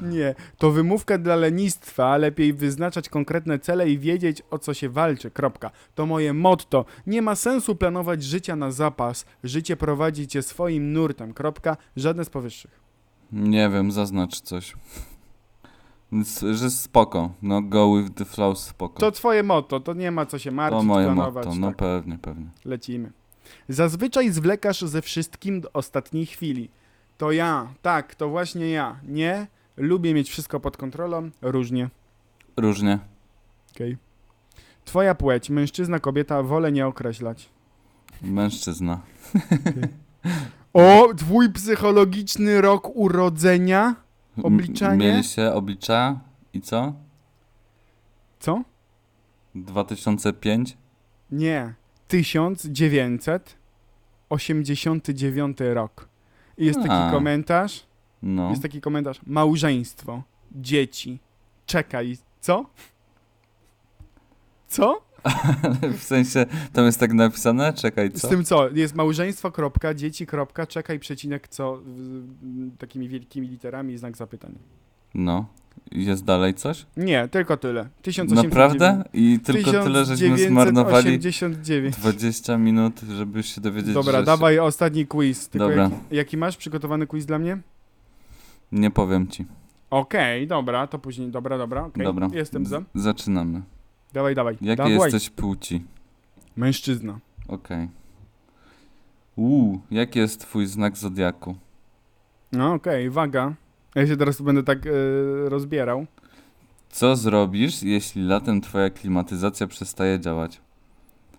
Nie, to wymówka dla lenistwa, lepiej wyznaczać konkretne cele i wiedzieć o co się walczy, kropka. To moje motto. Nie ma sensu planować życia na zapas. Życie prowadzi cię swoim nurtem, kropka. Żadne z powyższych.
Nie wiem, zaznacz coś. S- Że spoko. No go with the flow spoko.
To twoje motto, to nie ma co się martwić,
to moje
planować.
motto. No
tak,
pewnie, pewnie.
lecimy. Zazwyczaj zwlekasz ze wszystkim do ostatniej chwili. To ja, tak, to właśnie ja. Nie, lubię mieć wszystko pod kontrolą, różnie.
Różnie.
Okay. Twoja płeć, mężczyzna, kobieta, wolę nie określać.
Mężczyzna.
O, twój psychologiczny rok urodzenia?
M-
Obliczanie?
Mieli się oblicza i co?
Co?
2005?
Nie, 1989 rok. I jest taki
A.
komentarz.
No.
Jest tak- taki komentarz. Małżeństwo, dzieci, czekaj, co? Co?
w sensie, tam jest tak napisane? Czekaj,
Z
co?
tym co? Jest małżeństwo, kropka, dzieci, kropka, czekaj, przecinek, co? W- Takimi wielkimi literami i znak zapytania.
No. Jest dalej coś?
Nie, tylko tyle. 1800
Naprawdę? I tylko tyle, żeśmy zmarnowali
1989.
20 minut, żeby się dowiedzieć,
Dobra,
że
dawaj ostatni quiz. Tylko
Dobra.
Jaki, jaki masz przygotowany quiz dla mnie?
Się... Nie powiem ci.
Okej, dobra, to później. Dobra, dobra, okej.
Dobra.
Jestem
Z-
za.
Zaczynamy.
Dawaj, dawaj.
Jakie
dawaj.
jesteś płci?
Mężczyzna.
Okej. Uuu, jaki jest twój znak zodiaku?
No okej, waga. Ja się teraz będę tak y, rozbierał.
Co zrobisz, jeśli latem twoja klimatyzacja przestaje działać?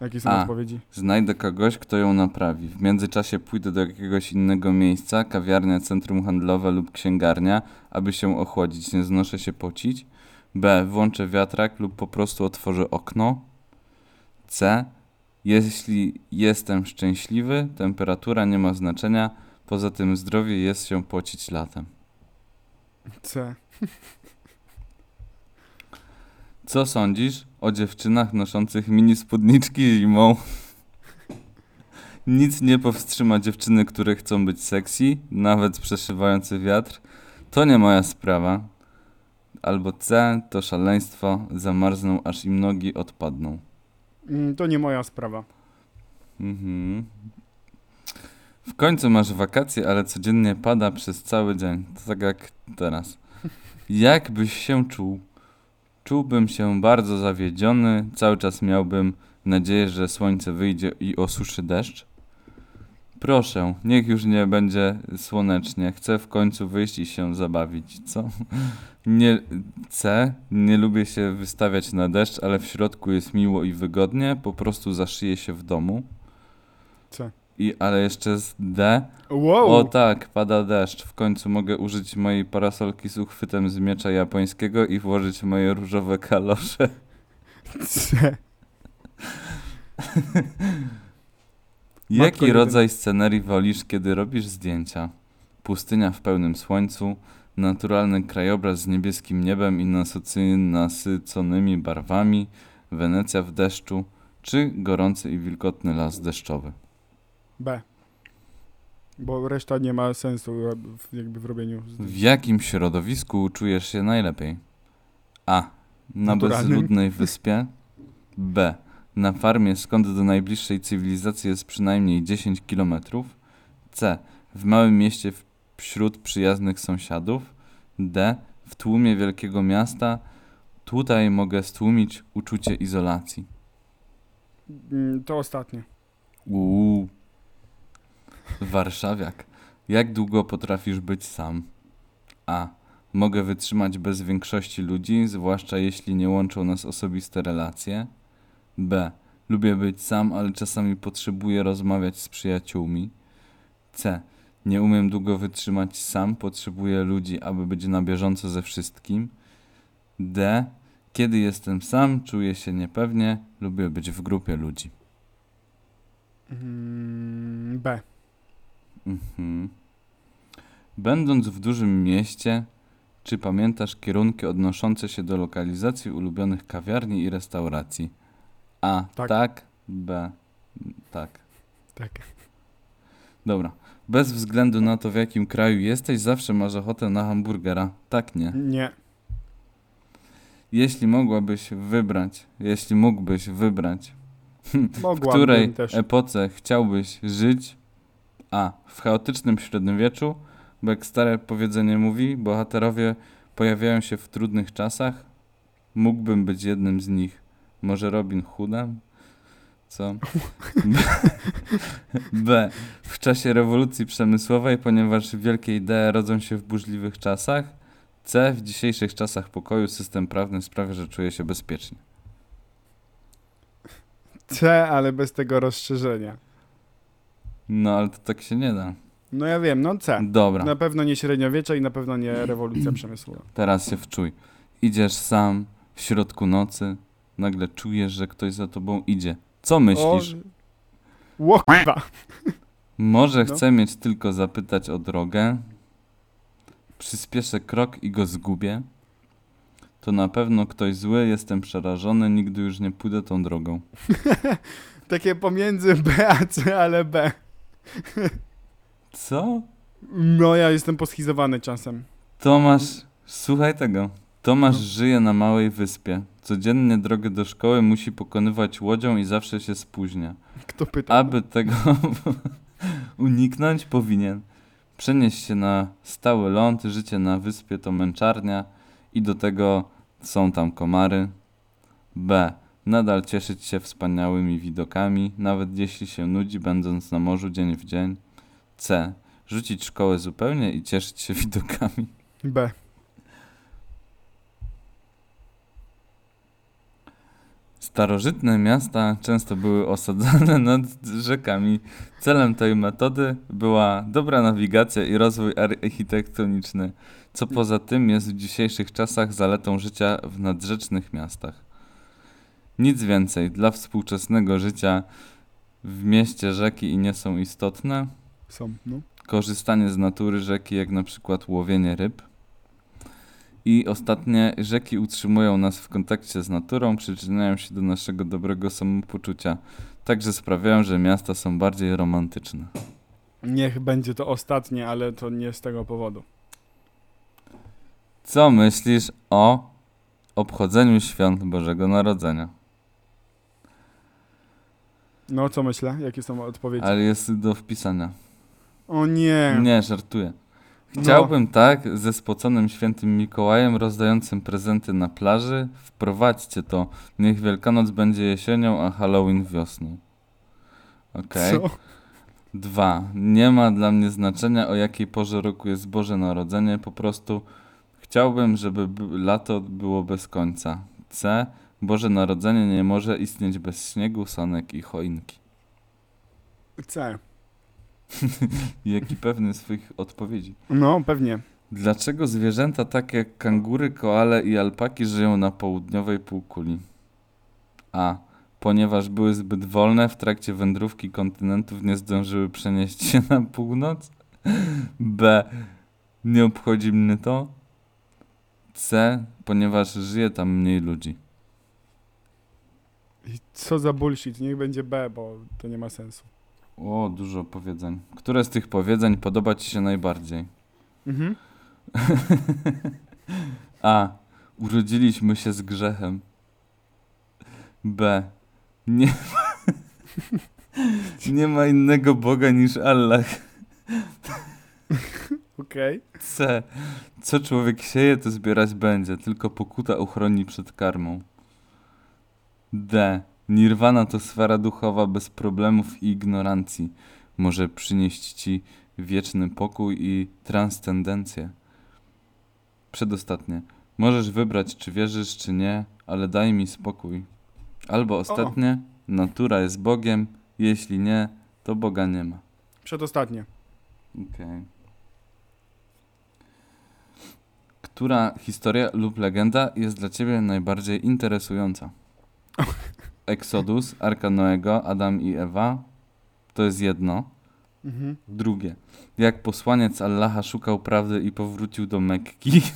Jakie są
A.
odpowiedzi?
Znajdę kogoś, kto ją naprawi. W międzyczasie pójdę do jakiegoś innego miejsca, kawiarnia, centrum handlowe lub księgarnia, aby się ochłodzić. Nie znoszę się pocić. B. Włączę wiatrak lub po prostu otworzę okno. C. Jeśli jestem szczęśliwy, temperatura nie ma znaczenia. Poza tym zdrowie jest się pocić latem.
C.
Co sądzisz o dziewczynach noszących mini spódniczki zimą? Nic nie powstrzyma dziewczyny, które chcą być sexy, nawet przeszywający wiatr. To nie moja sprawa. Albo C, to szaleństwo, zamarzną aż im nogi odpadną.
Mm, to nie moja sprawa.
Mhm. W końcu masz wakacje, ale codziennie pada przez cały dzień. To tak jak teraz. Jak byś się czuł? Czułbym się bardzo zawiedziony, cały czas miałbym nadzieję, że słońce wyjdzie i osuszy deszcz. Proszę, niech już nie będzie słonecznie. Chcę w końcu wyjść i się zabawić, co? Nie, C. Nie lubię się wystawiać na deszcz, ale w środku jest miło i wygodnie. Po prostu zaszyję się w domu.
C.
I, ale jeszcze z D.
Wow!
O tak, pada deszcz. W końcu mogę użyć mojej parasolki z uchwytem z miecza japońskiego i włożyć moje różowe kalosze.
C.
Jaki
jedyna.
rodzaj scenerii wolisz, kiedy robisz zdjęcia? Pustynia w pełnym słońcu, naturalny krajobraz z niebieskim niebem i nasycy- nasyconymi barwami, Wenecja w deszczu, czy gorący i wilgotny las deszczowy?
B. Bo reszta nie ma sensu ro- w- jakby w robieniu.
W jakim środowisku czujesz się najlepiej? A. Na
Naturalnym.
bezludnej wyspie. B. Na farmie, skąd do najbliższej cywilizacji jest przynajmniej 10 km. C. W małym mieście w- wśród przyjaznych sąsiadów. D. W tłumie wielkiego miasta. Tutaj mogę stłumić uczucie izolacji.
Mm, To ostatnie.
Uuu. Warszawiak. Jak długo potrafisz być sam? A. Mogę wytrzymać bez większości ludzi, zwłaszcza jeśli nie łączą nas osobiste relacje. B. Lubię być sam, ale czasami potrzebuję rozmawiać z przyjaciółmi. C. Nie umiem długo wytrzymać sam, potrzebuję ludzi, aby być na bieżąco ze wszystkim. D. Kiedy jestem sam, czuję się niepewnie, lubię być w grupie ludzi.
Mm, B.
Mhm. Będąc w dużym mieście, czy pamiętasz kierunki odnoszące się do lokalizacji ulubionych kawiarni i restauracji? A.
Tak.
Tak. B. Tak.
Tak.
Dobra. Bez względu na to, w jakim kraju jesteś, zawsze masz ochotę na hamburgera. Tak, nie.
Nie.
Jeśli mogłabyś wybrać, jeśli mógłbyś wybrać W
Mogłabym
której
też.
epoce chciałbyś żyć? A. W chaotycznym średniowieczu, bo jak stare powiedzenie mówi, bohaterowie pojawiają się w trudnych czasach. Mógłbym być jednym z nich. Może Robin Hoodem? Co? B. B. W czasie rewolucji przemysłowej, ponieważ wielkie idee rodzą się w burzliwych czasach. C. W dzisiejszych czasach pokoju system prawny sprawia, że czuję się bezpiecznie.
C, ale bez tego rozszerzenia.
No, ale to tak się nie da.
No ja wiem, no C.
Dobra.
Na pewno nie średniowiecze i na pewno nie rewolucja przemysłowa.
Teraz się wczuj. Idziesz sam w środku nocy, nagle czujesz, że ktoś za tobą idzie. Co myślisz?
O, ło, kurwa.
Może
no.
chcę mieć tylko zapytać o drogę. Przyspieszę krok i go zgubię. To na pewno ktoś zły, jestem przerażony, nigdy już nie pójdę tą drogą.
Takie pomiędzy B a C, ale B.
Co?
No ja jestem poschizowany czasem.
Tomasz, słuchaj tego. Tomasz żyje na małej wyspie. Codziennie drogę do szkoły musi pokonywać łodzią i zawsze się spóźnia.
Kto pyta?
Aby tego uniknąć, powinien przenieść się na stały ląd. Życie na wyspie to męczarnia i do tego są tam komary. B. Nadal cieszyć się wspaniałymi widokami, nawet jeśli się nudzi, będąc na morzu dzień w dzień. C. Rzucić szkołę zupełnie i cieszyć się widokami.
B.
Starożytne miasta często były osadzane nad rzekami. Celem tej metody była dobra nawigacja i rozwój architektoniczny, co poza tym jest w dzisiejszych czasach zaletą życia w nadrzecznych miastach. Nic więcej dla współczesnego życia w mieście rzeki nie są istotne.
Są, no.
Korzystanie z natury rzeki, jak na przykład łowienie ryb. I ostatnie, rzeki utrzymują nas w kontakcie z naturą, przyczyniają się do naszego dobrego samopoczucia. Także sprawiają, że miasta są bardziej romantyczne.
Niech będzie to ostatnie, ale to nie z tego powodu.
Co myślisz o obchodzeniu świąt Bożego Narodzenia?
No co myślę? Jakie są odpowiedzi?
Ale jest do wpisania.
O nie.
Nie, żartuję.
No.
Chciałbym tak ze spoconym świętym Mikołajem rozdającym prezenty na plaży. Wprowadźcie to. Niech Wielkanoc będzie jesienią, a Halloween wiosną. Okej.
Co?
Dwa. Nie ma dla mnie znaczenia, o jakiej porze roku jest Boże Narodzenie. Po prostu chciałbym, żeby b- lato było bez końca. C. Boże Narodzenie nie może istnieć bez śniegu, sanek i choinki.
C.
Jak i pewny swoich odpowiedzi.
No, pewnie.
Dlaczego zwierzęta takie jak kangury, koale i alpaki żyją na południowej półkuli? A. Ponieważ były zbyt wolne, w trakcie wędrówki kontynentów nie zdążyły przenieść się na północ. B. Nie obchodzi mnie to. C. Ponieważ żyje tam mniej ludzi.
I Co za bullshit, niech będzie B, bo to nie ma sensu.
O, dużo powiedzeń. Które z tych powiedzeń podoba Ci się najbardziej?
Mhm.
A. Urodziliśmy się z grzechem. B. Nie ma, nie ma innego Boga niż Allah.
Okej.
C. Co człowiek sieje, to zbierać będzie, tylko pokuta uchroni przed karmą. D. Nirwana to sfera duchowa bez problemów i ignorancji. Może przynieść ci wieczny pokój i transcendencję. Przedostatnie. Możesz wybrać, czy wierzysz, czy nie, ale daj mi spokój. Albo ostatnie. Natura jest Bogiem. Jeśli nie, to Boga nie ma.
Przedostatnie.
Okej. Która historia lub legenda jest dla ciebie najbardziej interesująca? Exodus, Arka Noego, Adam i Ewa. To jest jedno.
Mhm.
Drugie. Jak posłaniec Allaha szukał prawdy i powrócił do Mekki.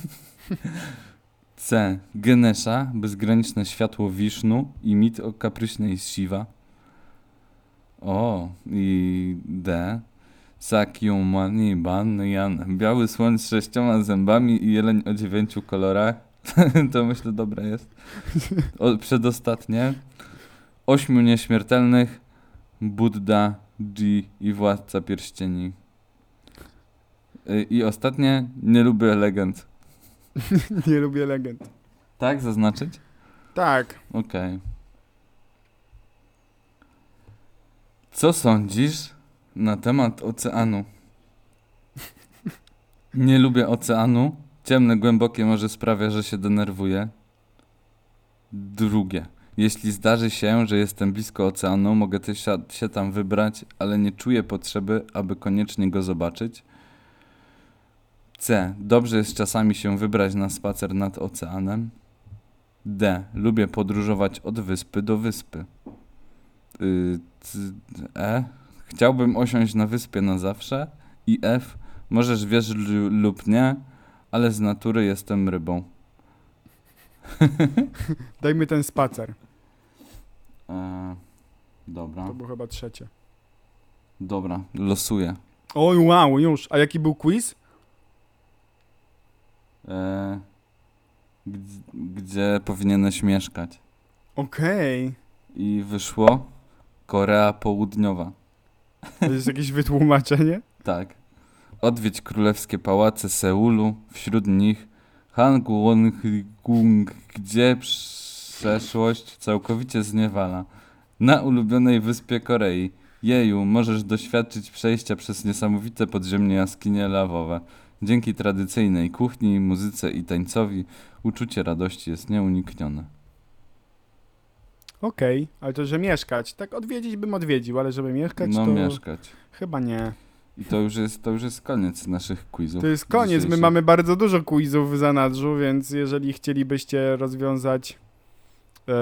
C. Genesha, bezgraniczne światło Wisznu i mit o kapryśnej Shiva. O, i D. Sakyumani Banyan, biały słoń z sześcioma zębami i jeleń o dziewięciu kolorach. to myślę dobre jest. O, przedostatnie. Ośmiu nieśmiertelnych, Buddha, G i Władca Pierścieni. Y, I ostatnie, nie lubię legend.
nie lubię legend.
Tak, zaznaczyć?
Tak.
Okej. Co sądzisz na temat oceanu? Nie lubię oceanu. Ciemne, głębokie morze sprawia, że się denerwuję. Drugie. Jeśli zdarzy się, że jestem blisko oceanu, mogę też się- się tam wybrać, ale nie czuję potrzeby, aby koniecznie go zobaczyć. C. Dobrze jest czasami się wybrać na spacer nad oceanem. D. Lubię podróżować od wyspy do wyspy. Y, c, e. Chciałbym osiąść na wyspie na zawsze. I F. Możesz wierzyć lu- lub nie, ale z natury jestem rybą.
Dajmy ten spacer.
E, dobra.
To było chyba trzecie.
Dobra, losuję.
Oj, wow, już. A jaki był quiz?
E, gdzie, gdzie powinieneś mieszkać?
Okej.
I wyszło Korea Południowa.
To jest jakieś wytłumaczenie?
Tak. Odwiedź królewskie pałace Seulu, wśród nich Hangwon-gung, gdzie przeszłość całkowicie zniewala. Na ulubionej wyspie Korei. Jeju, możesz doświadczyć przejścia przez niesamowite podziemne jaskinie lawowe. Dzięki tradycyjnej kuchni, muzyce i tańcowi uczucie radości jest nieuniknione.
Okej, ale to, że mieszkać. Tak odwiedzić bym odwiedził, ale żeby mieszkać
No
to
mieszkać.
chyba nie.
I to już jest, to już jest koniec naszych quizów.
To jest koniec. My
dzisiejszych.
mamy bardzo dużo quizów w zanadrzu, więc jeżeli chcielibyście rozwiązać e,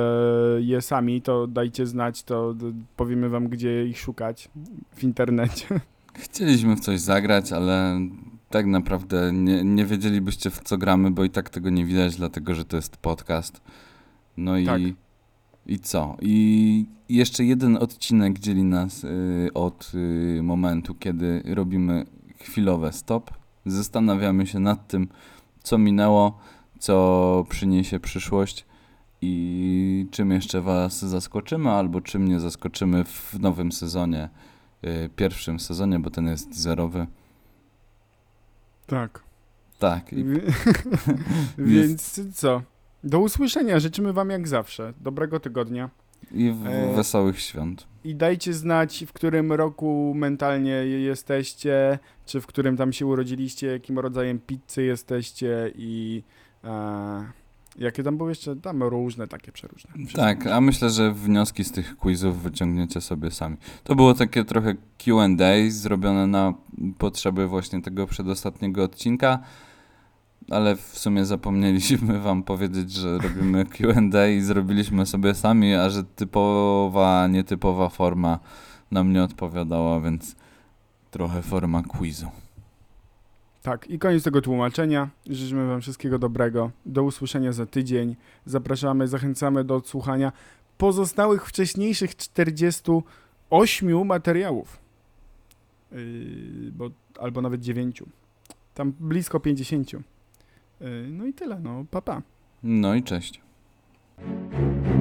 je sami, to dajcie znać, to d- powiemy wam, gdzie ich szukać w internecie.
Chcieliśmy w coś zagrać, ale tak naprawdę nie, nie wiedzielibyście w co gramy, bo i tak tego nie widać, dlatego że to jest podcast. No i,
Tak.
i co? I jeszcze jeden odcinek dzieli nas y, od y, momentu, kiedy robimy chwilowe stop. Zastanawiamy się nad tym, co minęło, co przyniesie przyszłość i czym jeszcze Was zaskoczymy, albo czym nie zaskoczymy w nowym sezonie, y, pierwszym sezonie, bo ten jest zerowy.
Tak.
Tak, i
Więc co? Do usłyszenia. Życzymy wam jak zawsze. Dobrego tygodnia.
I w
E,
wesołych świąt.
I dajcie znać, w którym roku mentalnie jesteście, czy w którym tam się urodziliście, jakim rodzajem pizzy jesteście i e, jakie tam były jeszcze, tam różne takie przeróżne. Wszystko.
Tak, a myślę, że wnioski z tych quizów wyciągniecie sobie sami. To było takie trochę QA zrobione na potrzeby właśnie tego przedostatniego odcinka, ale w sumie zapomnieliśmy wam powiedzieć, że robimy QA i zrobiliśmy sobie sami, a że typowa, nietypowa forma nam nie odpowiadała, więc trochę forma quizu.
Tak, i koniec tego tłumaczenia. Życzymy Wam wszystkiego dobrego. Do usłyszenia za tydzień. Zapraszamy, zachęcamy do odsłuchania pozostałych wcześniejszych 48 materiałów. Yy, bo, albo nawet 9. Tam blisko 50. Yy, no i tyle, no, papa. Pa.
No i cześć.
Thank you.